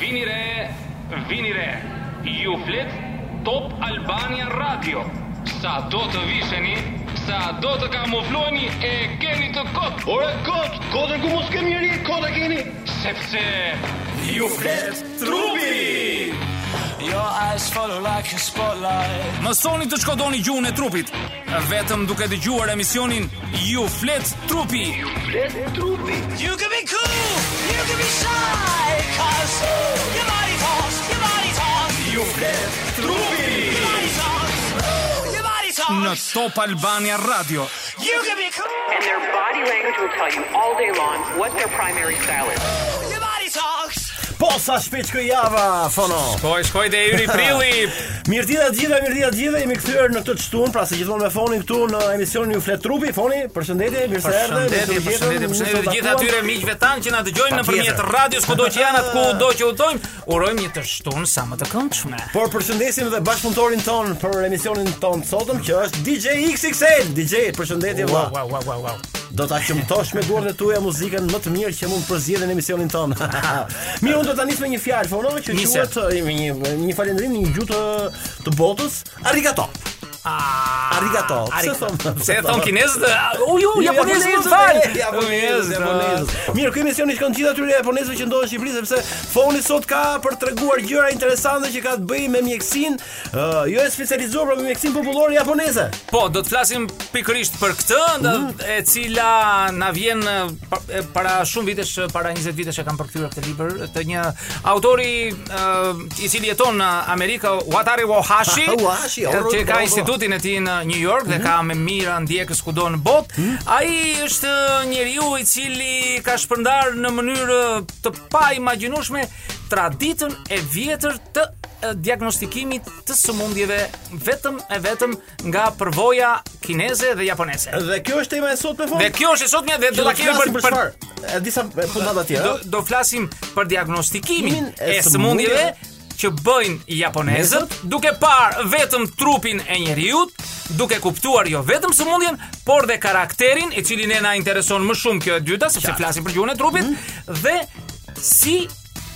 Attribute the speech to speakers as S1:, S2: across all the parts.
S1: Vini re, vini re. Ju flet Top Albania Radio. Sa do të visheni, sa do të kamufloheni e keni të kot,
S2: Ore kot, kotën ku mos kemi njeri, kota keni.
S1: sepse
S3: You flet trupi Your eyes follow like a spotlight
S4: Mësoni të shkodoni gjuhën e trupit, vetëm duke dëgjuar emisionin Ju flet trupi.
S3: You can be cool, you can be shy Cause ooh, your body talks, your body talks You flet trupi Your body talks, ooh, your body
S4: Në
S3: talks
S4: Top Albania Radio.
S3: You can be cool,
S5: And their body language will tell you all day long what their primary style is.
S3: your body talks
S2: Po sa shpejt që java, fono.
S4: Shkoj, shkoj dhe yri prilli.
S2: Mirëtida të gjithëve, mirëtida të gjithëve, jemi kthyer në këtë çtun, pra se gjithmonë me fonin këtu në emisionin ju flet trupi, foni, përshëndetje, mirë se erdhe.
S4: Përshëndetje, përshëndetje, përshëndetje të gjithë atyre miqve tanë që na dëgjojnë nëpërmjet
S2: Patjetër.
S4: radios kudo që janë atë kudo që udhtojmë. Urojmë një të shtunë sa më të këndshme.
S2: Por përshëndesim edhe bashkëpunëtorin ton për emisionin ton të sotëm që është DJ XXL. DJ, përshëndetje vëlla.
S4: Wow, wow, wow, wow, wow.
S2: Do ta qëmtosh me gurën e tuaja muzikën më të mirë që mund përzgjedhë në emisionin ton. Mirë, unë do ta nis me një fjalë fono që
S4: Nise.
S2: quhet eh, me një një falënderim në një gjuhë të, të botës, arigato.
S4: Ah,
S2: Arigato. Pse
S4: arigato.
S2: thon-
S4: Pse e thon kinezët? U ju japonezët më fal.
S2: e, Japonezët, japonezët. Mirë, ky emision i shkon gjithë atyre japonezëve që ndodhen në Shqipëri sepse foni sot ka për treguar gjëra interesante që ka të bëjë me mjekësinë, ë, jo e specializuar, por me mjekësinë popullore japoneze.
S4: Po, do të flasim pikërisht për këtë, nda- e cila na vjen e, pa- e, para shumë vitesh, e, para 20 vitesh e kam përkthyer këtë libër të një autori e, i cili jeton në Amerikë, Wataru Ohashi,
S2: Ohashi,
S4: e, që
S2: bravo.
S4: ka institutin e tij në New York dhe ka me mira ndjekës kudo në botë. Ai është njeriu i cili ka shpërndar në mënyrë të pa imagjinueshme traditën e vjetër të e, diagnostikimit të sëmundjeve vetëm e vetëm nga përvoja kineze dhe japoneze.
S2: Dhe kjo është tema e sotme fon.
S4: Dhe kjo është e sotmja dhe do ta kemi për, për
S2: E disa e, punata tjera.
S4: do, do flasim për diagnostikimin
S2: Min e
S4: e sëmundjeve që bëjnë japonezët, duke parë vetëm trupin e njeriut, duke kuptuar jo vetëm sëmundjen, por dhe karakterin, i cili ne na intereson më shumë kjo e dyta, sepse flasim për gjuhën e trupit,
S2: Mhm.
S4: dhe si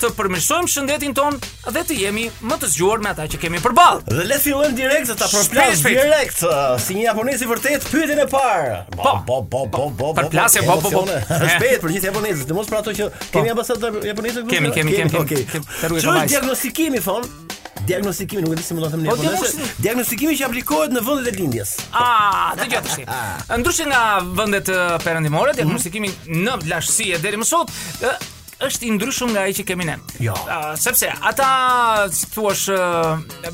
S4: të përmirësojmë shëndetin ton dhe të jemi më të zgjuar me ata që kemi përballë.
S2: Dhe le të fillojmë direkt se ta
S4: Shpejt,
S2: përplas
S4: shpejt.
S2: direkt uh, si një japonez i vërtet pyetjen e parë.
S4: Po,
S2: po, po, po, po.
S4: përplasje, po, po, po.
S2: emocione.
S4: Eh.
S2: Shpejt për një japonez, të mos për ato që kemi ambasador japonezë këtu.
S4: Po. Kemi, kemi, kemi, kemi.
S2: Okej.
S4: Kemi, të rrugë e
S2: Ç'është
S4: Kavajs.
S2: diagnostikimi thon? Diagnostikimi, nuk e di si mund ta them në
S4: Po,
S2: japonezë.
S4: diagnostikimi.
S2: Diagnostikimi që aplikohet në vendet e lindjes.
S4: Ah, dëgjoj tash. Ndryshe nga vendet eh, perëndimore,
S2: Mhm.
S4: diagnostikimi në vlashtësi e deri më sot eh, është i ndryshëm nga ai që kemi ne.
S2: Jo.
S4: Ah, sepse ata, si thua,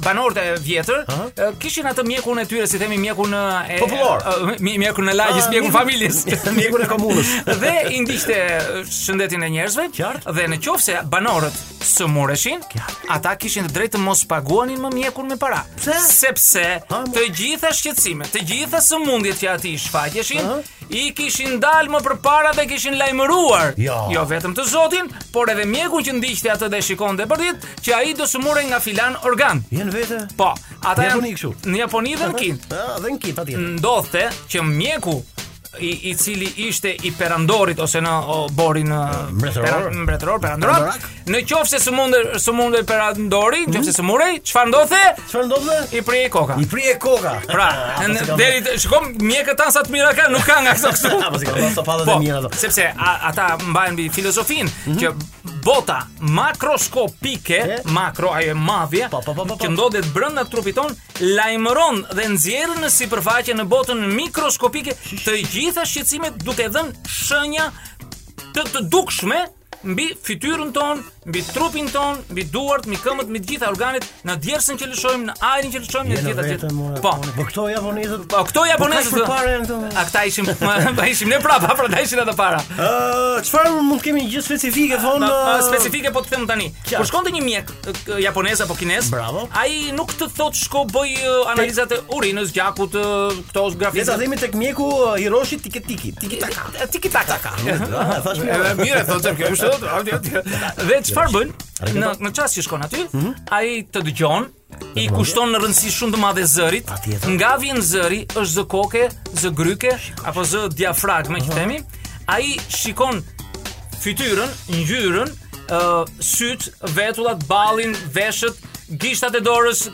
S4: banorët e vjetër eh, kishin atë mjekun e tyre, si themi mjekun eh, e
S2: Popullor.
S4: eh, mi- mjekun e lagjës,
S2: Ah,
S4: mjekun
S2: mjekun-
S4: familjes,
S2: mjekun e komunës.
S4: dhe i ndiqte eh, shëndetin e njerëzve.
S2: Qartë.
S4: Dhe në qoftë se banorët sëmureshin, ata kishin të drejtë të mos paguanin më mjekun me para.
S2: Pse?
S4: Sepse
S2: Ha, mo-
S4: të gjitha shqetësimet, të gjitha sëmundjet që ati shfaqeshin, i kishin dalë më përpara dhe kishin lajmëruar.
S2: Jo.
S4: jo vetëm të Zotin, por edhe mjekun që ndiqte atë dhe shikonte për ditë, që ai do sëmurej nga filan organ.
S2: Jan vete.
S4: Po, ata
S2: Në
S4: janë
S2: Japoni kështu.
S4: në Japoni dhe në Kinë
S2: Ah, dhe në kit atje.
S4: ndodhte që mjeku i, i cili ishte i perandorit ose në o, borin ë,
S2: mbretëror.
S4: peran- mbretëror perandorak
S2: Perandorak.
S4: në qoftë se sëmundej sëmundej perandori në qoftë se sëmurej çfarë ndodhte
S2: Çfarë ndodhte?
S4: i prej koka
S2: I prije koka.
S4: Pra,
S2: Ah, po
S4: në-
S2: si kam-
S4: deri të- shikom mjekët tanë sa të mira kanë, nuk kanë nga këto këtu.
S2: Ah, po si kam thënë, sopatat e mira ato.
S4: Sepse a, ata mbajnë mbi filozofinë që bota makroskopike,
S2: E?
S4: makro ajo e madhje,
S2: Po, po, po, po, po.
S4: që ndodhet brenda trupit ton, lajmëron dhe nxjerr në sipërfaqe në botën mikroskopike të gjitha shqetësimet duke dhënë shenja të të dukshme mbi fytyrën tonë, mbi trupin tonë, mbi duart, mbi këmbët, mbi të gjitha organet, në djersën që lëshojmë, në ajrin që lëshojmë, në të
S2: Janë
S4: gjitha
S2: vete, more,
S4: Po,
S2: Po këto japonezët.
S4: Po këto japonezët.
S2: Po, Po, kaq përpara janë këto.
S4: A këta ishim, ma ishim ne prapa, pra ta ishin edhe para.
S2: Ë, çfarë mund kemi një gjë specifike von?
S4: Ma, ma,
S2: ë,
S4: specifike po të them tani.
S2: Qartë.
S4: Kur shkonte një mjek e, k- japonez apo kinez,
S2: Bravo.
S4: ai nuk të thot shko bëj e, analizat e urinës, gjakut, e, këto
S2: Le ta
S4: grafizat.
S2: themi tek mjeku uh, Hiroshi Tiketiki. Tikitaka.
S4: E, Tiki taka.
S2: Ah, thash mirë.
S4: Edhe mirë e thotë kjo është thotë, hajde, hajde. Dhe çfarë bën? Në në çast që shkon aty,
S2: Mhm.
S4: ai të dëgjon, i kushton në rëndësi shumë të madhe zërit.
S2: Patjetër.
S4: Nga vjen zëri, është zë koke, zë gryke apo zë diafragme që themi. Ai shikon fytyrën, ngjyrën uh, syt, vetullat, ballin, veshët, gishtat e dorës,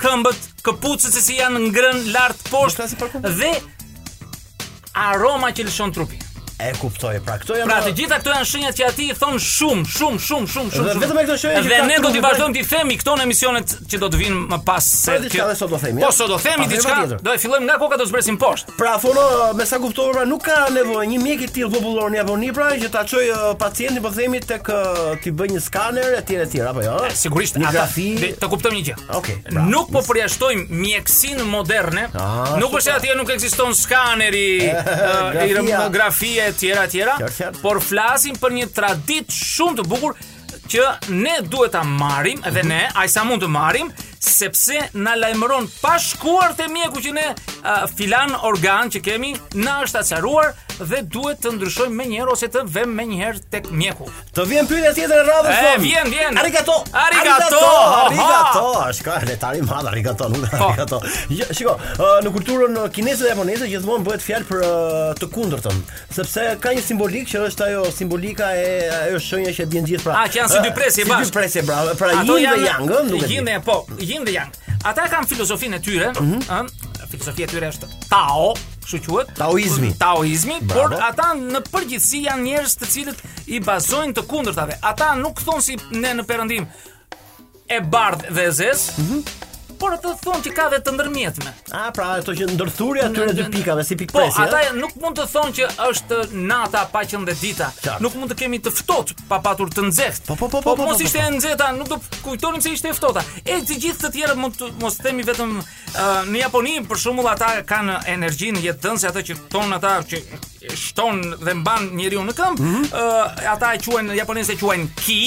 S4: këmbët, këpucët se si janë ngrën lart poshtë
S2: flasim për këmbë?
S4: dhe aroma që lëshon trupi.
S2: E kuptoj, pra këto janë
S4: Pra të gjitha këto janë shenjat që aty i thon shumë, shumë, shumë, shumë, shumë.
S2: Dhe
S4: shumë.
S2: vetëm me këto shenjë që
S4: Dhe
S2: ka
S4: ne do
S2: trupi,
S4: t'i vazhdojmë t'i themi këto në emisionet që do të vinë më pas se.
S2: Pra, diçka
S4: kjo-
S2: dhe sot do themi,
S4: Po
S2: ja?
S4: sot do themi
S2: Pa,
S4: diçka.
S2: tjetër.
S4: Do e fillojmë nga koka do zbresim poshtë.
S2: Pra fono, me sa kuptova, pra nuk ka nevojë një mjek i tillë popullor në Japoni pra që ta çojë uh, pacientin po themi tek uh, ti bëj një skaner etj etj apo jo? ë?
S4: Sigurisht
S2: një
S4: ata
S2: grafi.
S4: dhe të kuptojmë një gjë.
S2: Okej, bravo.
S4: Nuk po përjashtojmë mjekësinë moderne.
S2: Ah,
S4: nuk është se atje nuk ekziston skaneri,
S2: grafia.
S4: ironografia e tjera e tjera,
S2: Qartë, qartë.
S4: por flasim për një traditë shumë të bukur që ne duhet ta marrim dhe
S2: Mhm.
S4: ne ai sa mund të marrim sepse na lajmëron pa shkuar te mjeku që ne uh, filan organ që kemi na është acaruar dhe duhet të ndryshojmë menjëherë ose të vëmë menjëherë tek mjeku.
S2: Të vjen pyetja tjetër e radhës
S4: E,
S2: son.
S4: vjen, vjen.
S2: Arigato.
S4: Arigato, aha. Po.
S2: Arigato. Shka letari i madh arigato, nuk arigato. Jo, shiko, ë, në kulturën ë, kineze dhe japoneze gjithmonë bëhet fjalë për ë, të kundërtën, sepse ka një simbolik që është ajo simbolika e ajo shenja që e bien gjithë pra.
S4: A, Ah, që janë si dy
S2: ë,
S4: presje
S2: si
S4: bashkë.
S2: dy presje pra, pra yin dhe yang, ë, nuk e di.
S4: Yin dhe po, yin dhe yang. Ata kanë filozofinë e tyre, ëh, filozofia e tyre është Tao, kështu quhet.
S2: Taoizmi.
S4: Taoizmi,
S2: Bravo.
S4: por ata në përgjithësi janë njerëz të cilët i bazojnë të kundërtave. Ata nuk thonë si ne në perëndim e bardh dhe e zez,
S2: Mhm.
S4: por ata thonë që ka dhe të ndërmjetme.
S2: A, pra ato që ndërthurja atyre dy pikave si pikë
S4: Po,
S2: presje.
S4: ata
S2: ë?
S4: nuk mund të thonë që është nata pa qenë dhe dita.
S2: Qartë.
S4: Nuk mund të kemi të ftohtë pa patur të nxehtë.
S2: Po, po, po, po, po,
S4: mos
S2: po,
S4: ishte
S2: po.
S4: e nxehta, nuk do kujtonim se ishte e ftohta. E të gjithë të tjerët mund të mos themi vetëm ë, në Japoni për shembull ata kanë energjinë jetëdhënëse ata që tonë ata që shton dhe mban njeriu në këmbë,
S2: Mhm.
S4: ë, ata e quajnë japonesë e quajnë ki,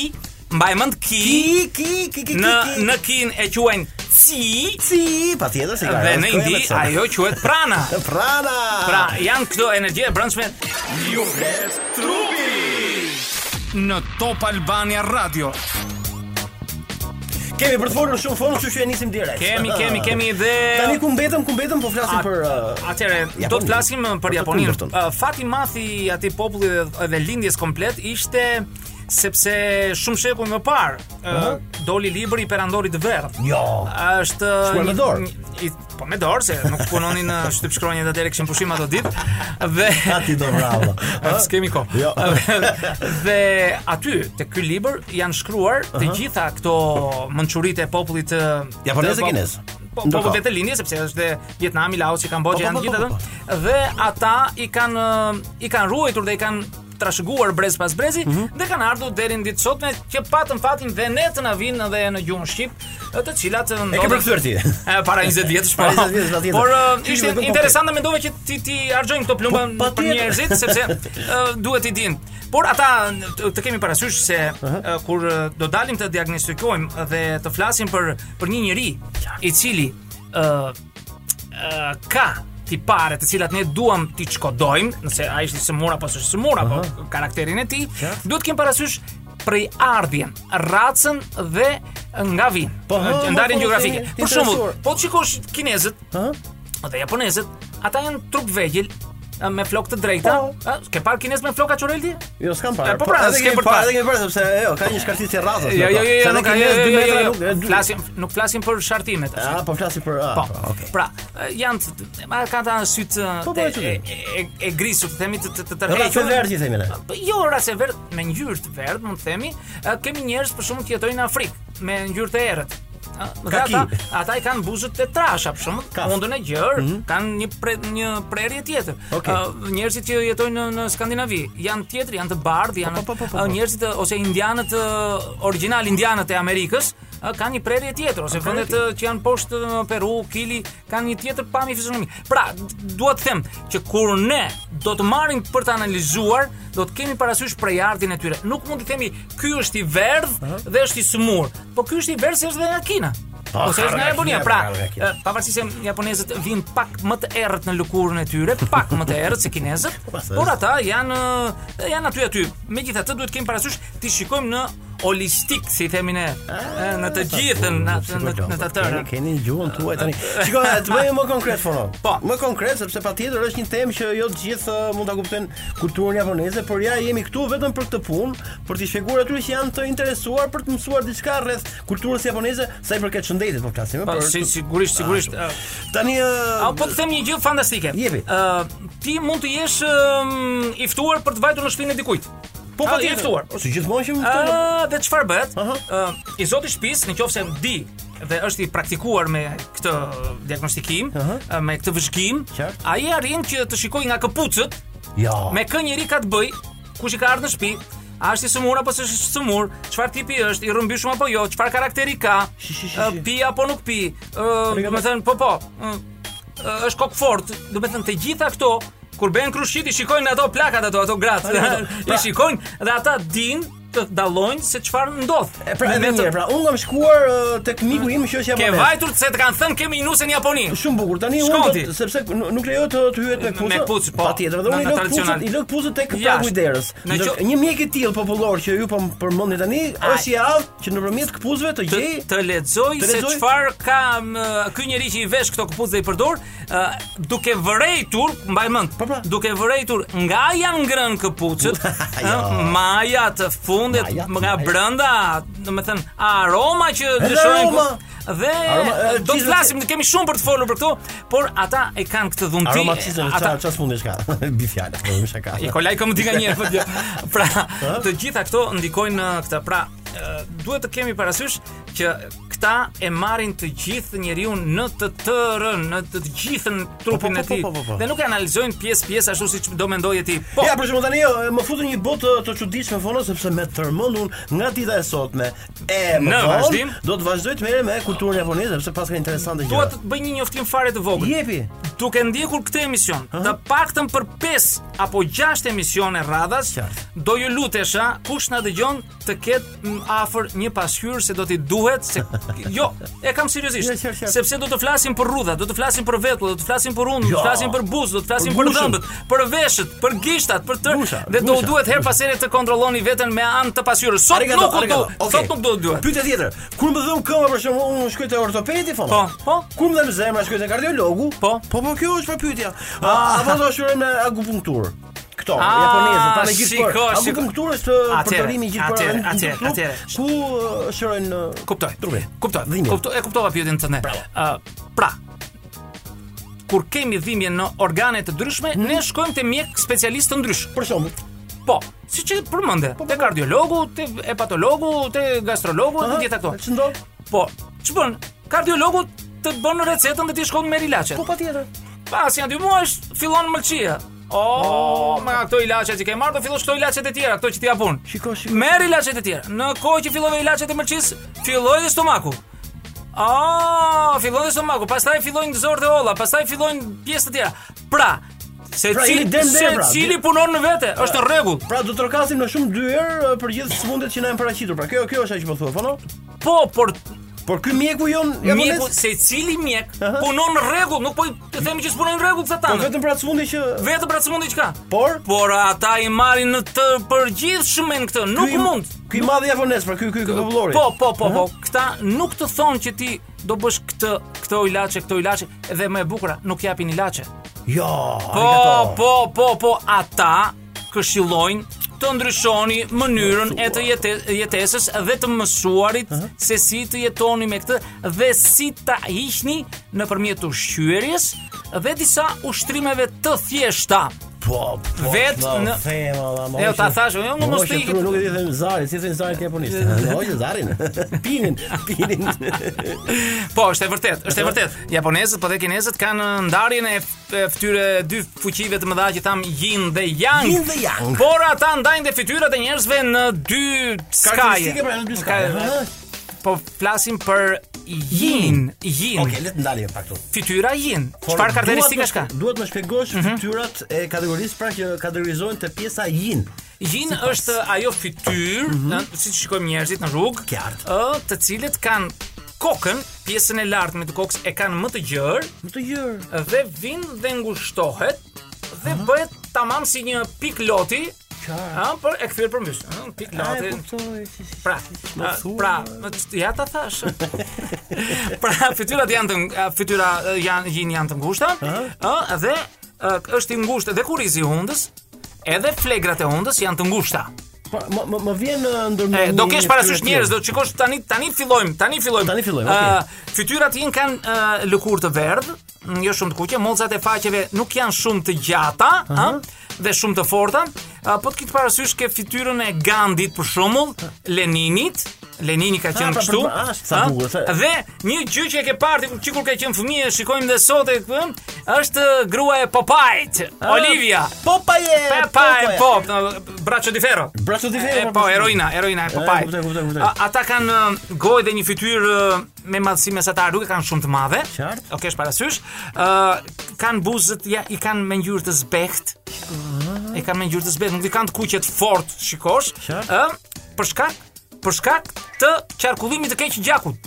S4: mbaj mend ki,
S2: Ki, ki, ki, ki,
S4: në
S2: ki, ki.
S4: në kin e quajnë ci.
S2: Si, pa tjetër se ka.
S4: Dhe
S2: është
S4: në
S2: kjo e
S4: Indi
S2: mëson.
S4: ajo quhet prana.
S2: Prana.
S4: Pra, janë këto energji e brendshme. Ju flet trupi. Në Top Albania Radio.
S2: Kemi për të folur shumë fond, kështu që e nisim direkt.
S4: Kemi, kemi, kemi dhe
S2: Tani ku mbetëm, ku mbetëm, po flasim
S4: A-
S2: për uh,
S4: Atëre, do
S2: Japoninë.
S4: të flasim uh,
S2: Për
S4: për
S2: të
S4: Japoninë.
S2: kundërtën.
S4: Uh, Fati i madh i atij populli dhe- dhe lindjes komplet ishte sepse shumë shekuj më parë uh, doli libri i Perandorit të Verdh.
S2: Jo.
S4: Është uh,
S2: Shkruar me
S4: një-
S2: dorë.
S4: një- i- Po me dorë se nuk punonin në shtyp shkronjë dhe atëre kishin pushim ato ditë. Dhe
S2: Ati do bravo.
S4: A, S'kemi kohë.
S2: Jo.
S4: dhe aty te ky libër janë shkruar të gjitha këto mençuritë e popullit të
S2: Japonez
S4: të-
S2: e kinez.
S4: Po, po, po
S2: Ndërkohë.
S4: vetë lindje sepse është dhe Vietnami, Laosi,
S2: Po, po,
S4: Kambodja janë
S2: po,
S4: gjithë
S2: po,
S4: ato. Dhe ata i kanë i kanë ruajtur dhe i kanë trashëguar brez pas brezi
S2: Mhm.
S4: dhe kanë ardhur deri në ditë sotme që patën fatin dhe ne të na vinë edhe në gjuhën shqip, të cilat ndodhin.
S2: E ke përkthyer ti.
S4: E, para 20 vjetësh po.
S2: Para 20 vjetësh, patjetër.
S4: Por uh,
S2: Ti
S4: ishte
S2: me këto
S4: interesante mendova që ti ti harxojmë këto plumba
S2: Po,
S4: për
S2: patjetër.
S4: njerëzit sepse uh, duhet i dinë. Por ata n- t- të kemi parasysh se uh, kur uh, do dalim të diagnostikojmë dhe të flasim për për një njeri i cili uh, uh, ka tipare të cilat ne duam t'i çkodojmë, nëse ai është i sëmur apo s'është sëmur apo karakterin e tij, duhet të kemi parasysh prej ardhjen, racën dhe nga vin.
S2: Po, ha, mo,
S4: ndarjen
S2: po,
S4: gjeografike.
S2: ti- ti
S4: Për shembull,
S2: interesuar.
S4: po të shikosh kinezët, Dhe japonezët, ata janë trup vegjël ë, me flokë të drejta.
S2: Po.
S4: Ë, Ke parë kinez me floka çorelti?
S2: Jo, s'kam parë.
S4: E, po, pra,
S2: edhe
S4: s'ke
S2: kemi
S4: për
S2: parë,
S4: parë.
S2: edhe kemi parë sepse jo, ka një shkartisje rradhës.
S4: Jo, jo, jo, jo, nuk ka. jo, jo, jo, jo, jo.
S2: Flas.
S4: Flasim, nuk flasim për shartimet. tash.
S2: Ah, po flasim për ah.
S4: Po.
S2: pra, okay.
S4: Pra, ë, janë të- të- ma kanë ta syt ë,
S2: Po, po,
S4: të-
S2: e qëllim.
S4: e- e- e grisur, të themi të të të
S2: Rrafë
S4: tërhequr.
S2: verdhi themi ne.
S4: Po, Jo rase verd me ngjyrë të verdh, mund të themi, ë, kemi njerëz për shkakun që jetojnë në Afrikë me ngjyrë të errët. Ë, Dhe
S2: Kaki.
S4: ata, ata i kanë buzët të trasha për shkakun,
S2: Kaf.
S4: mundën e gjërë, kanë një pre, një prerje tjetër.
S2: Mhm. Okej.
S4: Ë, njerëzit që jetojnë në, në Skandinavi janë tjetër, janë të bardhë, janë
S2: po, po, po, po,
S4: ë,
S2: po.
S4: njerëzit ë, ose indianët ë, original indianët e Amerikës ë, kanë një prerje tjetër ose vendet ë, që janë poshtë ë, Peru, Kili kanë një tjetër pamje fizionomi. Pra, d- dua të them që kur ne do të marrim për të analizuar, do të kemi parasysh prej ardhin e tyre. Nuk mund të themi ky është i verdh dhe është i smur, po ky është i verdh se është dhe nga Kina.
S2: Po,
S4: Ose është
S2: ka
S4: nga
S2: nga
S4: Japonia,
S2: Kina,
S4: pra,
S2: ka nga Kina.
S4: ë, pavarësisht se japonezët vijnë pak më të errët në lëkurën e tyre, pak më të errët se kinezët,
S2: Po, se
S4: por
S2: është.
S4: ata janë ë, janë aty aty. Megjithatë duhet kemi parasysh ti shikojmë në holistik, si i themi ne,
S2: Ah,
S4: e, në të
S2: po,
S4: gjithën, në, në, në të
S2: Keni-
S4: tërën.
S2: Keni gjuhën tuaj tani. Shikoj, të bëjmë më konkret fono.
S4: Po.
S2: Më konkret sepse patjetër është një temë që jo të gjithë eh, mund ta kuptojnë kulturën japoneze, por ja jemi këtu vetëm për këtë punë, për t'i shpjeguar atyre që janë të interesuar për të mësuar diçka rreth kulturës japoneze, sa i përket shëndetit po flasim,
S4: Po,
S2: por
S4: si, sigurisht, sigurisht. e,
S2: Ah, shumë. Tani eh,
S4: A po të them një gjë fantastike.
S2: Jepi.
S4: Ë, ti mund të jesh ëm, i ftuar për të vajtur në shtëpinë e dikujt. Po
S2: ah,
S4: pa ti i
S2: jemi-
S4: ftuar.
S2: Si gjithmonë që më ftuar.
S4: Ë, dhe çfarë bëhet?
S2: Aha.
S4: Ë, i zoti i shtëpisë, nëse di dhe është i praktikuar me këtë diagnostikim,
S2: Aha.
S4: me këtë vëzhgim,
S2: Qartë.
S4: ai arrin që të shikoj nga këpucët
S2: Jo.
S4: me kë njeri ka të bëj, kush i ka ardhur në shtëpi, a është i sëmur apo s'është i sëmur, çfarë tipi është, i rrëmbyshëm apo jo, çfarë karakteri ka,
S2: Shi, shi, shi,
S4: ë,
S2: shi.
S4: pi apo nuk pi, ë, do të thënë po po, ë, ë, është kokë fort, do të thënë të gjitha këto kur bëhen krushit i shikojnë ato plakat ato ato gratë,
S2: Ato, pra-
S4: i shikojnë dhe ata din të dallojnë se çfarë ndodh.
S2: E, Pra,
S4: Me
S2: edhe
S4: të-
S2: një, pra, unë kam shkuar eh, tek miku im që është
S4: Ke
S2: japonez.
S4: vajtur se të kanë thënë kemi nuse në Japoni.
S2: Shumë bukur. Tani unë
S4: Shkon
S2: do
S4: ti.
S2: të- sepse n- nuk lejohet të, të hyet me kpucë.
S4: Me kpucë, po.
S2: Patjetër, dhe
S4: Në-
S2: unë i
S4: në
S2: lë
S4: tradicional.
S2: kpucët, i lë kpucët tek
S4: Jashtë.
S2: plagu i derës.
S4: Në
S2: Ndër-
S4: qo-
S2: Një mjek i tillë popullor që ju po më përmendni tani, është i avë që nëpërmjet kpuzëve të
S4: të,
S2: gjej
S4: të lexoj
S2: Të
S4: se
S2: lexoj?
S4: çfarë ka më, ky njeri që i vesh këto këpucë dhe i përdor, ë, duke vërejtur, mbaj mend,
S2: Po, pra.
S4: duke vërejtur nga janë ngrënë këpucët, ë,
S2: Jo.
S4: maja të fundit
S2: Maja,
S4: nga
S2: maja.
S4: brenda, domethënë aroma që
S2: Edhe
S4: dëshirojnë
S2: aroma.
S4: ku- dhe
S2: Aroma, ë,
S4: do të
S2: gjithë-
S4: flasim, kemi shumë për të folur për këto, por ata e kanë këtë dhunti.
S2: aromatizëm,
S4: ata-
S2: çfarë çfarë smundesh ka? Bi fjalë, po më shaka.
S4: I kolaj kam di nga një herë. jo. Pra, të gjitha këto ndikojnë në këtë. Pra, e, duhet të kemi parasysh që këta e marrin të gjithë njeriu në të tërën, në të gjithën trupin
S2: po,
S4: e
S2: po,
S4: tij.
S2: po, po, po.
S4: Dhe nuk e analizojnë pjesë pjesë ashtu siç do mendoje ti. Po,
S2: Ja, për shembull tani jo, më futën një botë të çuditshme fono sepse me tërmendun nga dita e sotme. E, më
S4: Në
S2: vonë,
S4: vazhdim?
S2: do të vazhdoj të merrem me kulturën japoneze sepse pas ka interesante gjëra.
S4: dua të bëj një njoftim fare të vogël.
S2: jepi.
S4: duke ndjekur këtë emision, të paktën për 5 apo 6 emisione radhas,
S2: Qartë.
S4: do ju lutesha kush na dëgjon të ketë m, afër një pasqyrë se do t'i duhet se jo, e kam seriozisht.
S2: Ja, qartë, qartë.
S4: Sepse do të flasim për rrudha, do të flasim për vetull, do të flasim për unë, do
S2: Jo.
S4: të flasim për buzë, do të flasim
S2: Për
S4: për,
S2: gushën.
S4: dhëmbët, për veshët, për gishtat, për tër,
S2: Gusha,
S4: dhe do
S2: gusha,
S4: u duhet her pas here të kontrolloni veten me anë të pasqyrës. Sot
S2: Arigato,
S4: nuk u do,
S2: arigato. Okej.
S4: sot nuk do të duhet.
S2: Pyetja tjetër. Kur më dhëm këmbë për shembull, unë shkoj te ortopedi fona.
S4: Po, po.
S2: Kur më dhëm zemra, shkoj te kardiologu.
S4: Po. Ah.
S2: Po, po kjo është për pyetja. A, apo do shuroj me akupunktur. Këto,
S4: A,
S2: japonezë, pa me gjithë
S4: Ah, shiko,
S2: për.
S4: shiko.
S2: Akupunktur është
S4: Atëre,
S2: përdorimi i gjithë
S4: atëre,
S2: për.
S4: atëre, atëre.
S2: Ku uh, shërojnë uh,
S4: Kuptoj.
S2: trupin?
S4: Kuptoj.
S2: Dhimbjen.
S4: Kuptoj, e kuptova pyetjen tënde. Ë, pra, kur kemi dhimbje në organe të ndryshme,
S2: Mhm.
S4: ne shkojmë te mjek specialist të ndryshëm.
S2: Për shembull,
S4: Po, siç e përmende,
S2: Po,
S4: te kardiologu, te hepatologu, te gastrologu,
S2: Aha,
S4: te gjitha këto.
S2: ç'ndo?
S4: Po, ç'bën? Kardiologu të bën recetën dhe ti shkon me ilaçe.
S2: po patjetër.
S4: Pas janë dy muajsh fillon mëlçia. O, me këto ilaçe që ke marrë, do fillosh këto ilaçet e tjera, këto që ti japun.
S2: Po. Shiko, shiko.
S4: Merr ilaçet e tjera. Në kohë që fillove ilaçet e mëlçis, filloi dhe stomaku. A, filloi dhe stomaku, pastaj fillojnë zorë dhe olla, pastaj fillojnë pjesë të tjera. Pra, se
S2: Pra,
S4: cili,
S2: jeni dem
S4: se
S2: debra.
S4: cili punon në vete, është në rregull.
S2: Pra do të trokasim në shumë dyër për gjithë sëmundjet që na janë paraqitur. Pra kjo kjo është ajo që po thua, po no?
S4: Po, por
S2: Por ky mjeku jon japonez,
S4: mjeku, se cili mjek
S2: Aha.
S4: punon në rregull, nuk po i të themi që s'punon në rregull këta
S2: po
S4: tanë.
S2: vetëm për atë sëmundje që
S4: Vetëm pra smundi çka?
S2: Por?
S4: por ata i marrin në të përgjithshme në këtë, nuk
S2: ky-
S4: mund.
S2: Ky i madh japonez, pra ky ky ky popullori.
S4: Po, po, po, po. Këta nuk të thonë që ti do bësh këtë, këto ilaçe, këto ilaçe dhe më e bukura, nuk japin ilaçe.
S2: Jo,
S4: Po, po, po, po, ata këshillojnë të ndryshoni mënyrën e të jete, jetesës dhe të mësuarit se si të jetoni me këtë dhe si ta hiqni nëpërmjet ushqyerjes dhe disa ushtrimeve të thjeshta.
S2: po, po.
S4: Vet në- E, ta thash, unë nuk mos
S2: tri.
S4: tri-
S2: Nuk e di them Zari, si thënë Zari te japonisht. Jo, që Zarin. Pinin, pinin.
S4: Po, është e vërtet, është e vërtet. Japonezët po dhe kinezët kanë ndarjen e f- e fytyre dy fuqive të mëdha që tham yin dhe yang.
S2: Yin dhe yang.
S4: Por ata ndajnë dhe fytyrat e njerëzve në dy skaje.
S2: Karakteristike pra në dy skaje.
S4: Ka-
S2: ha?
S4: Po flasim për yin, yin.
S2: Okej, le të ndalim pak këtu.
S4: Fytyra yin.
S2: Por
S4: Çfarë karakteristikash ka?
S2: duhet më- Duhet të shpjegosh
S4: Mhm.
S2: fytyrat e kategorisë pra që kategorizohen te pjesa yin.
S4: Yin është ajo fytyrë,
S2: Mhm.
S4: ë, siç shikojmë njerëzit në rrugë,
S2: Qartë.
S4: ë, të cilët kanë kokën, pjesën e lartme të kokës e kanë më të gjerë,
S2: Më të gjër.
S4: dhe vin dhe ngushtohet dhe bëhet tamam si një pik loti
S2: Mhm. qartë.
S4: Ëh, por e kthyer përmbysh. Ëh, pik
S2: A e
S4: lati.
S2: kuptoj.
S4: Pra,
S2: po, Më
S4: a,
S2: thua.
S4: pra, më t- ja ta thash. pra, fytyrat janë të ng- a, fytyra ë, janë gjin janë të ngushta, ë dhe ë, është i ngushtë edhe kurizi i hundës, edhe flegrat e hundës janë të ngushta.
S2: Po, më- më më vjen ë, ndërmjet.
S4: E, do
S2: një-
S4: kesh
S2: një
S4: parasysh
S2: fytyrë
S4: njerëz,
S2: tjetër.
S4: do shikosh tani tani fillojmë, tani fillojmë.
S2: Tani fillojmë,
S4: Ë, fytyrat janë kanë ë, lëkurë të verdh, m, jo shumë të kuqe, mollzat e faqeve nuk janë shumë të gjata, ë, dhe shumë të forta. Ë, po të kitë parasysh ke fytyrën e Gandhit për shembull, Leninit, Lenini ka
S2: Ah,
S4: qenë
S2: pra,
S4: kështu.
S2: për- ah, sa
S4: ë,
S2: bukur, sa-
S4: Dhe një gjë që e ke parë ti kur- që kur ka qenë fëmijë, e shikojmë dhe sot e kë, është ë, grua e Popajt, Ah. Olivia.
S2: Ah. Popeye.
S4: Popaj, po, Braccio di Ferro.
S2: Braccio di Ferro,
S4: E, Po,
S2: po,
S4: heroina, heroina e Popaj.
S2: kuptoj, kuptoj, kuptoj.
S4: A- Ata kanë ë, gojë dhe një fytyrë ë, me madhësime sa ta nuk e kanë shumë të madhe.
S2: Qartë.
S4: O kesh parasysh. Ë kanë buzët ja i kanë me ngjyrë të zbeht.
S2: Ah.
S4: E kanë me ngjyrë të zbeht, nuk i kanë të kuqe të fortë, shikosh.
S2: Qartë.
S4: Ë për shkak për shkak të qarkullimit të keq të gjakut.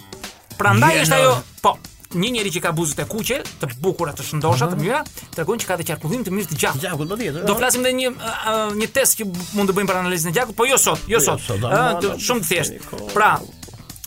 S4: Prandaj
S2: Je
S4: është
S2: në-
S4: ajo, po, një njeri që ka buzët e kuqe, të bukura, të shëndosha, të mira, tregon që ka dhe qarkullim të mirë të gjakut.
S2: Gjakut po tjetër.
S4: Do
S2: ëh.
S4: flasim edhe një ë, ë, një test që mund të bëjmë për analizën e gjakut, po jo sot, jo sot.
S2: sot,
S4: Ë,
S2: ama-
S4: do- shumë të thjeshtë. Pra,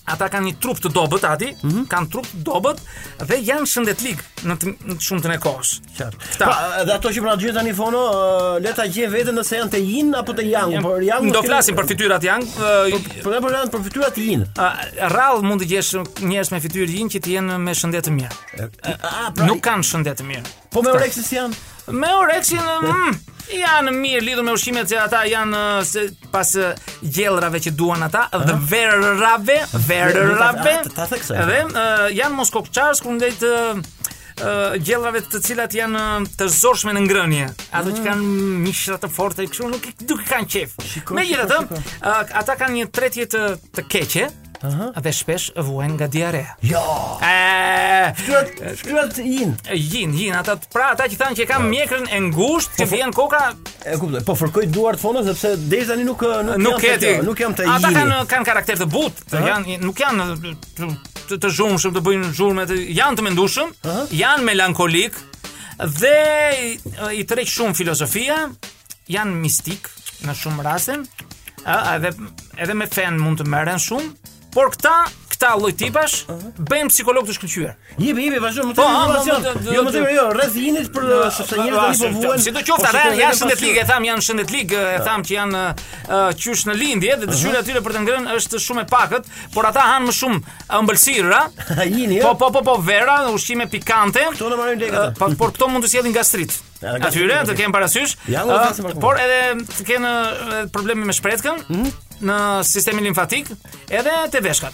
S4: ata kanë një trup të dobët ati,
S2: Mhm.
S4: kanë trup të dobët dhe janë shëndetlik në, të, në të shumtën e kohës.
S2: Qartë.
S4: Këta.
S2: Pra, edhe ato që pra gjë tani fono, ë, le ta gjej veten nëse janë të yin apo të yang, por yang.
S4: Do flasim për fytyrat janë, ë,
S2: Po ne po janë për fytyra të yin.
S4: ë, rrallë mund të gjesh njerëz me fytyrë yin që të jenë me shëndet të mirë.
S2: Ah, pra.
S4: Nuk kanë shëndet të mirë.
S2: Po me oreksis janë.
S4: Me oreksin mm, janë mirë lidhur me ushqimet që ata janë ë, se, pas ë, gjellrave që duan ata dhe verrave, verrave.
S2: Ta- ta the kësaj.
S4: Dhe ë, janë mos kokçars kur ndejt ë, ë, gjellrave uh, të cilat janë ë, të zorshme në ngrënje. Ato
S2: Ah.
S4: që kanë mishra të forta e kështu nuk i- nuk i kanë qef. Megjithatë, ë, ata kanë një tretje të të keqe. Dhe shpesh vuajnë nga diarea.
S2: Jo.
S4: E,
S2: Fytyrat, fytyrat të yin.
S4: Jin, jin, ata pra ata që thanë që e
S2: Ah.
S4: kam mjekrën e ngushtë,
S2: Po,
S4: që vjen koka,
S2: E kuptoj. Po fërkoj duart fono sepse deri tani nuk ë, nuk,
S4: nuk
S2: jam
S4: e
S2: të
S4: di.
S2: kjo, nuk jam të
S4: Ata
S2: yin.
S4: kanë kanë karakter të butë, të janë nuk janë të, të, të zhurmshëm, të bëjnë zhurmë, të, janë të mendushëm, janë melankolik dhe i, i tërheq shumë filozofia, janë mistik në shumë raste, ë, edhe edhe me fen mund të merren shumë, por këta këta lloj tipash bëjnë psikolog të shkëlqyer.
S2: Jepi, jepi, vazhdo, më të
S4: Po, a,
S2: informacion.
S4: po, do- do-
S2: Jo, më tepër, jo, rreth yinit për ë, sepse njerëzit tani po vuajnë.
S4: Si do qoftë,
S2: po,
S4: ata
S2: shikojnë
S4: janë
S2: edhe
S4: shëndetlik, e
S2: pasqyrë.
S4: tham janë shëndetlik,
S2: Po.
S4: e tham që janë ë, qysh në lindje dhe dëshira e tyre për të ngrënë është shumë e pakët, por ata hanë më shumë ëmbëlsira.
S2: Jini,
S4: Po
S2: jo.
S4: po po po vera, ushqime pikante.
S2: Këto në marrin lekët,
S4: ë, Po por këto mund të sjellin gastrit.
S2: Ja, gastrit,
S4: Atyre të
S2: gastrit.
S4: kenë parasysh, ë,
S2: Ja, u flasim për Mhm. këtë.
S4: por edhe të kenë ë, probleme me shpretkën në sistemin limfatik, edhe te veshkat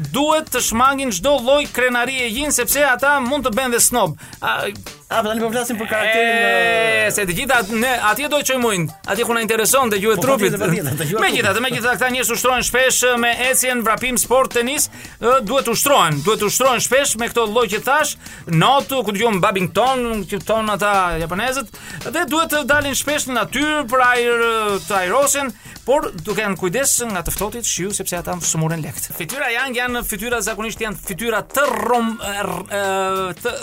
S4: duhet të shmangin çdo lloj krenarie gjin sepse ata mund të bëjnë dhe snob. A,
S2: A, po tani po flasim për karakterin.
S4: E, se të gjitha ne atje do të çojmojnë, atje ku na intereson dëgjuhet
S2: Po,
S4: trupit.
S2: patjetër, patjetër, dëgjuhet trupit.
S4: Megjithatë, megjithatë këta njerëz ushtrohen shpesh eh, me ecjen, vrapim, sport, tenis, eh, duhet ushtrohen, duhet ushtrohen shpesh me këto lloj që thash, notu, ku dëgjojmë Babington, që ton ata japonezët, dhe duhet të dalin shpesh në natyrë për ajër eh, të ajrosen, por duke në kujdes nga të ftohtit shiu sepse ata sëmuren lekt. Fytyra janë janë fytyra zakonisht janë fytyra të rum eh, eh, të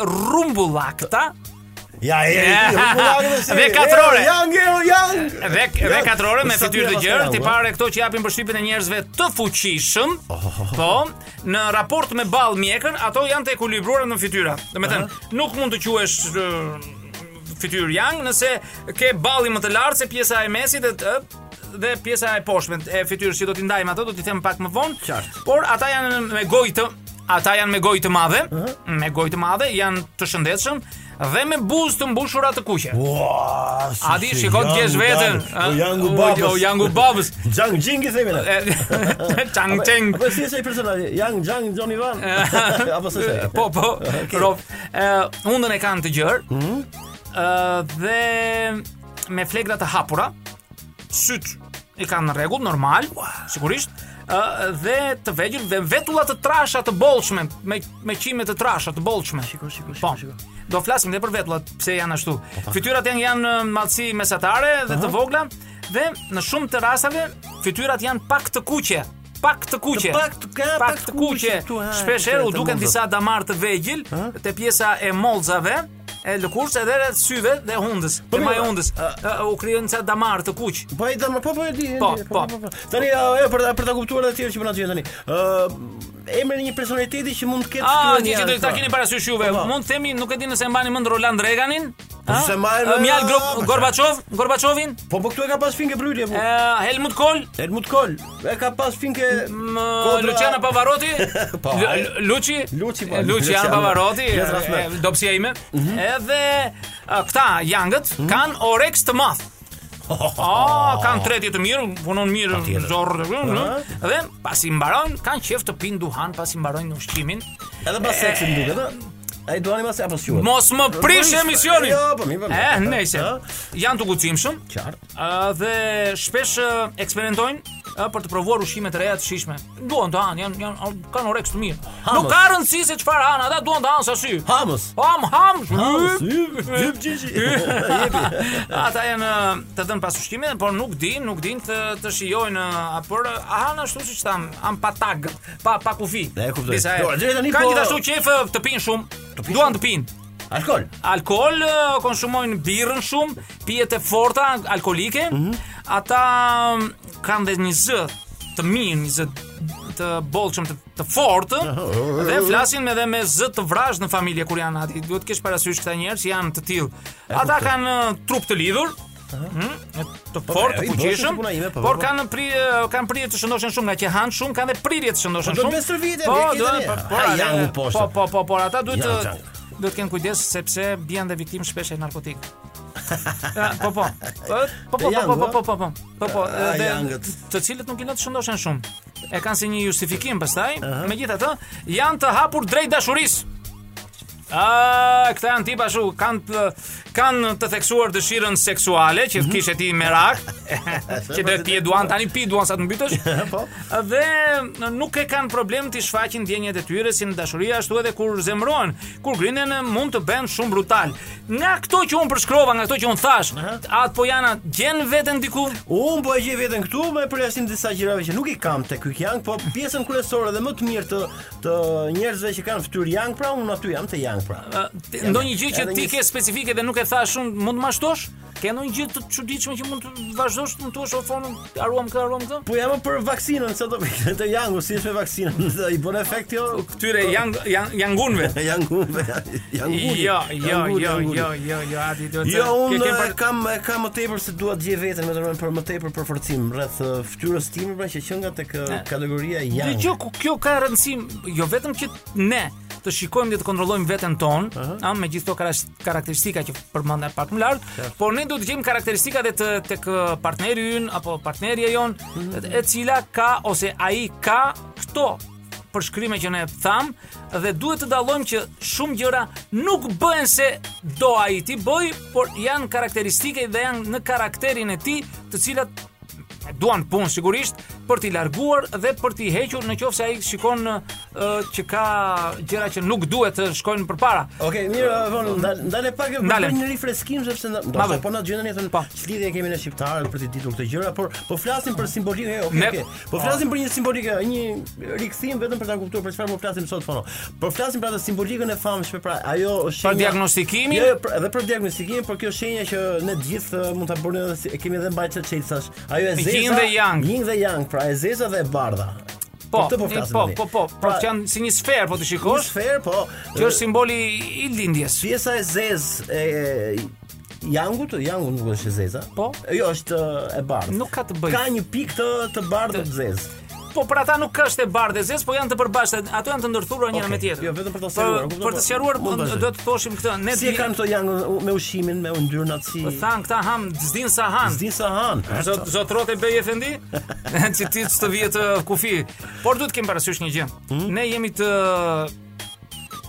S4: rumbullakta,
S2: Ja, e, e,
S4: Ja.
S2: rrotullakët e si.
S4: Dhe katrore.
S2: E, Yang, e, yang.
S4: Dhe dhe katrore me
S2: sa
S4: fytyrë të
S2: të java
S4: gjerë,
S2: se
S4: ti
S2: janë,
S4: pare këto që japin përshtypjen e njerëzve të fuqishëm.
S2: Oh,
S4: Po, në raport me ball mjekër, ato janë të ekuilibruara në fytyra. Domethënë, nuk mund të quhesh ë, fytyrë yang nëse ke balli më të lartë se pjesa e mesit e të- dhe pjesa e poshtme e fytyrës që do t'i ndajmë ato do t'i them pak më vonë.
S2: Qartë.
S4: Por ata janë me gojë të ata janë me gojë të madhe, me gojë të madhe, janë të shëndetshëm dhe me buzë të mbushura të kuqe.
S2: Ua, si
S4: A e di,
S2: si,
S4: shikon të
S2: yang
S4: kesh
S2: u
S4: veten.
S2: babës,
S4: a?
S2: U jangu
S4: O,
S2: babës.
S4: o jangu babës.
S2: Jang Jingi themi ne.
S4: E, Chang Cheng.
S2: Po si është ai personazhi? Yang Jang John Ivan. Apo s'është ai?
S4: Po, po.
S2: Okej.
S4: Rob, ë hundën e kanë të gjerë. Ë dhe me flegra të hapura, syt i kanë në rregull normal, sigurisht. Ë dhe të vegjël dhe vetulla të trasha të bollshme, me me qime të trasha të bollshme. Shikoj, shikoj, shikoj. Do flasim edhe për vetullat, pse janë ashtu. Fytyrat janë janë në madhësi mesatare dhe të vogla dhe në shumë të rasteve fytyrat janë pak të kuqe, pak të kuqe.
S2: Të pak të- ka
S4: pak të kuqe.
S2: këtu, ha,
S4: Shpesh herë u
S2: të
S4: duken
S2: mundot.
S4: disa damar të vegjël te pjesa e mollzave e lëkurës edhe rreth syve dhe hundës,
S2: Po
S4: dhe
S2: mirë,
S4: majundës. Ë, U krijojnë ca damar të kuq.
S2: Po ai tani po po e di. e
S4: Po,
S2: di,
S4: po.
S2: Tani ajo për ta për ta kuptuar edhe të tjerë që po na dëgjojnë tani. Ë emrin e një personaliteti që mund të ketë
S4: Ah,
S2: këtu
S4: një
S2: një
S4: që do
S2: anë
S4: ta
S2: këta.
S4: keni parasysh juve.
S2: Po, po.
S4: Mund të themi, nuk e di nëse e mbani mend Roland Reaganin, ë?
S2: se mbajnë-
S4: Ë, Mjal Gro- Gorbaçov, Gorbachovin,
S2: Po po këtu e ka pas finkë brytje po.
S4: ë, Helmut Kohl,
S2: Helmut Kohl e ka pas finkë
S4: Më
S2: Kodra-
S4: Luciano Pavarotti,
S2: Po,
S4: Lu-
S2: ai-
S4: Luci,
S2: Luci, po,
S4: Luciano
S2: Luciano.
S4: Pavarotti,
S2: Yes, Mhm. Rasme.
S4: e, dobësia ime. Edhe a, këta jangët
S2: Mhm.
S4: kanë oreks të madh. Ah, kanë tretje të mirë, punon mirë, zorr. Dhe pasi mbarojnë, kanë qef të pinë duhan pasi mbarojnë ushqimin.
S2: Edhe pas seksit më duket, ë? Ai duani mas apo sjuhet.
S4: Mos më prish
S2: Po,
S4: emisionin.
S2: Jo, po mi po. mi.
S4: Eh, nejse.
S2: Ë?
S4: Janë të guximshëm.
S2: Qartë.
S4: Ë, dhe shpesh ë, eksperimentojnë ë, për të provuar ushqime të reja të shishme. Duan të hanë, janë janë kanë oreks të mirë.
S2: Hamës.
S4: Nuk ka rëndësi se çfarë hanë, ata duan të hanë sa sy.
S2: Hamës.
S4: Ham, ham.
S2: Hamës, hyp, hyp gjyqi. Jepi.
S4: Ata janë ë, të dënë pas ushqimit, por nuk din, nuk din të të shijojnë ë, a por ë, a hanë ashtu siç tham, han pa tag, pa pa kufi.
S2: E, kuptoj.
S4: Disa herë.
S2: Jo, deri tani
S4: Kanë
S2: po-
S4: gjithashtu qef ë, të pinë shumë. Duan të pinë.
S2: Alkol.
S4: Alkool eh, konsumojnë birrën shumë, pijet e forta alkolike. Ata mm, kanë dhe një zë të mirë, një zë të bollshëm të, të fortë dhe flasin me dhe me zë të vrazh në familje kur janë aty. Duhet të kesh parasysh këta njerëz që janë të tillë. Ata kanë eh, trup të lidhur, ëh, të fortë, të
S2: Po, i bëshë
S4: fuqishëm,
S2: si puna ime, po,
S4: por
S2: po.
S4: kanë pri kanë prirje të shëndoshen shumë nga që hanë shumë, kanë dhe prirje të shëndoshen
S2: Po do
S4: shumë.
S2: të bëj stërvitje,
S4: po,
S2: vjen
S4: do,
S2: këta njerë.
S4: po, po,
S2: Ha,
S4: ata-
S2: janë u poshtë.
S4: po, po, po, por ata duhet
S2: Janë
S4: të
S2: janë.
S4: duhet të kenë kujdes sepse bien dhe viktimë shpesh e narkotik. Ja, po po. Po po po po po po po po. Po po,
S2: A,
S4: dhe
S2: jangët.
S4: të cilët nuk i lën të shëndoshen shumë. E kanë si një justifikim pastaj, megjithatë janë të hapur drejt dashurisë. A, këta janë tipa shu, kanë të, kanë të theksuar dëshirën seksuale, që të kishe ti merak, që do ti e duan, tani pi duan sa të mbytësh, dhe nuk e kanë problem të shfaqin djenjet e tyre si në dashuri ashtu edhe kur zemrohen, kur grinen mund të bëhen shumë brutal. Nga këto që unë përshkrova, nga këto që unë thash, atë po janë gjenë veten diku,
S2: Unë po e gjej veten këtu me përjashtim disa gjërave që nuk i kam tek ky Yang, po pjesën kryesore dhe më të mirë të të njerëzve që kanë fytyrë Yang, pra unë aty jam te Yang pra.
S4: Ë, ti- ndonjë gjë që
S2: Edhe
S4: ti
S2: një-
S4: ke specifike dhe nuk e thash shumë, mund të mashtosh? Ke ndonjë gjë të çuditshme që mund të vazhdosh të më thuash o fonu, haruam këtë, haruam këtë?
S2: Po jam për vaksinën, sa do të Yangu, si është me vaksinën? I bën efekt jo?
S4: Këtyre janë janë janë gunve.
S2: Yangu, Yangu.
S4: Jo, jo, jo, jo, jo, jo, ati do të.
S2: Jo,
S4: Ke-
S2: unë
S4: ke
S2: e
S4: për-
S2: kam e kam më tepër se dua të gjej veten, më thënë për më tepër për forcim rreth e, fytyrës time, pra që që nga tek e, kategoria
S4: Ah. Dhe
S2: Yang.
S4: gjë ku kjo ka rëndësi, jo vetëm që ne të shikojmë dhe të kontrollojmë veten tonë, a me gjithë këto karas- karakteristika që përmenda pak më lart, por ne duhet të gjejmë karakteristikat edhe të tek eh, partneri ynë apo partnerja jon, e cila ka ose ai ka këto përshkrime që ne tham dhe duhet të dallojmë që shumë gjëra nuk bëhen se do ai ti bëj, por janë karakteristike dhe janë në karakterin e tij, të cilat duan punë sigurisht për t'i larguar dhe për t'i hequr në qoftë se ai shikon ë, që ka gjëra që nuk duhet të shkojnë përpara.
S2: Okej, mirë, e, von, ndal- ndale pak e
S4: Ndale.
S2: bëj një rifreskim sepse nda- do
S4: Ma
S2: të
S4: bëj.
S2: po na gjendën jetën
S4: Po.
S2: lidhje kemi ne shqiptarët për të ditur këto gjëra, por po flasim për simbolikë, e, okej,
S4: Ne-
S2: okej. Po flasim për një simbolikë, një rikthim vetëm për ta kuptuar për çfarë po flasim sot fono. Po flasim për atë simbolikën e famshme, pra ajo është
S4: Për diagnostikimin?
S2: Jo, jo, për- edhe për diagnostikimin, por kjo shenja që ne të gjithë e, mund ta bëjmë edhe si- e kemi edhe mbajtje çelsash. Ajo e zeza.
S4: Yin dhe yang.
S2: Yin dhe yang, pra e zeza dhe e bardha.
S4: Po,
S2: Për këtë po
S4: e,
S2: flasim.
S4: po,
S2: tani.
S4: po, po, pra
S2: Pra,
S4: që janë si një sferë po të
S2: një
S4: shikosh,
S2: sferë, po.
S4: që është simboli i lindjes.
S2: Pjesa e zezë e Jangut, Jangu nuk është e zeza.
S4: Po.
S2: Jo, është e bardhë.
S4: Nuk ka të bëjë.
S2: Ka një pikë të të bardhë të zezë.
S4: Po për ata nuk është e bardhë e zezë, po janë të përbashkëta, ato janë të ndërthuara njëra
S2: Okej,
S4: me tjetrën.
S2: jo, vetëm për ta sqaruar,
S4: Për-
S2: kuptoj,
S4: Për të
S2: po.
S4: sqaruar
S2: Mund vazhdoj.
S4: do të thoshim këtë, ne
S2: Si e kanë këto Jangun me ushqimin, me yndyrnat si
S4: than këta ham zdin sa han.
S2: Zdin sa hanë.
S4: Zot zotrote bëj efendi, që ti të vihet uh, kufi. Por duhet të kemi parasysh një gjë. Ne jemi të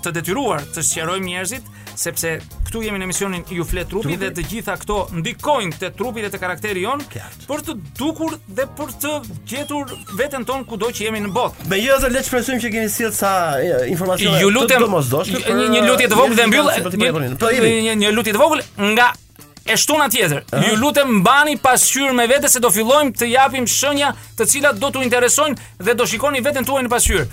S4: të detyruar të sqarojmë njerëzit sepse këtu jemi në emisionin Ju flet trupi,
S2: Trupi.
S4: dhe të gjitha këto ndikojnë te trupi dhe te karakteri jon
S2: Qartë.
S4: për të dukur dhe për të gjetur veten ton kudo që jemi në botë.
S2: Me jo le të shpresojmë që keni sjell sa e, informacione
S4: Ju lutem
S2: të domosdoshme
S4: një, një lutje të vogël dhe mbyll
S2: njerëzit që kanë simpati për
S4: një,
S2: Japoninë. Po jemi.
S4: një, një lutje të vogël nga e shtuna tjetër. Ju lutem mbani pasqyrë me vete se do fillojmë të japim shenja të cilat do t'u interesojnë dhe do shikoni veten tuaj në pasqyrë.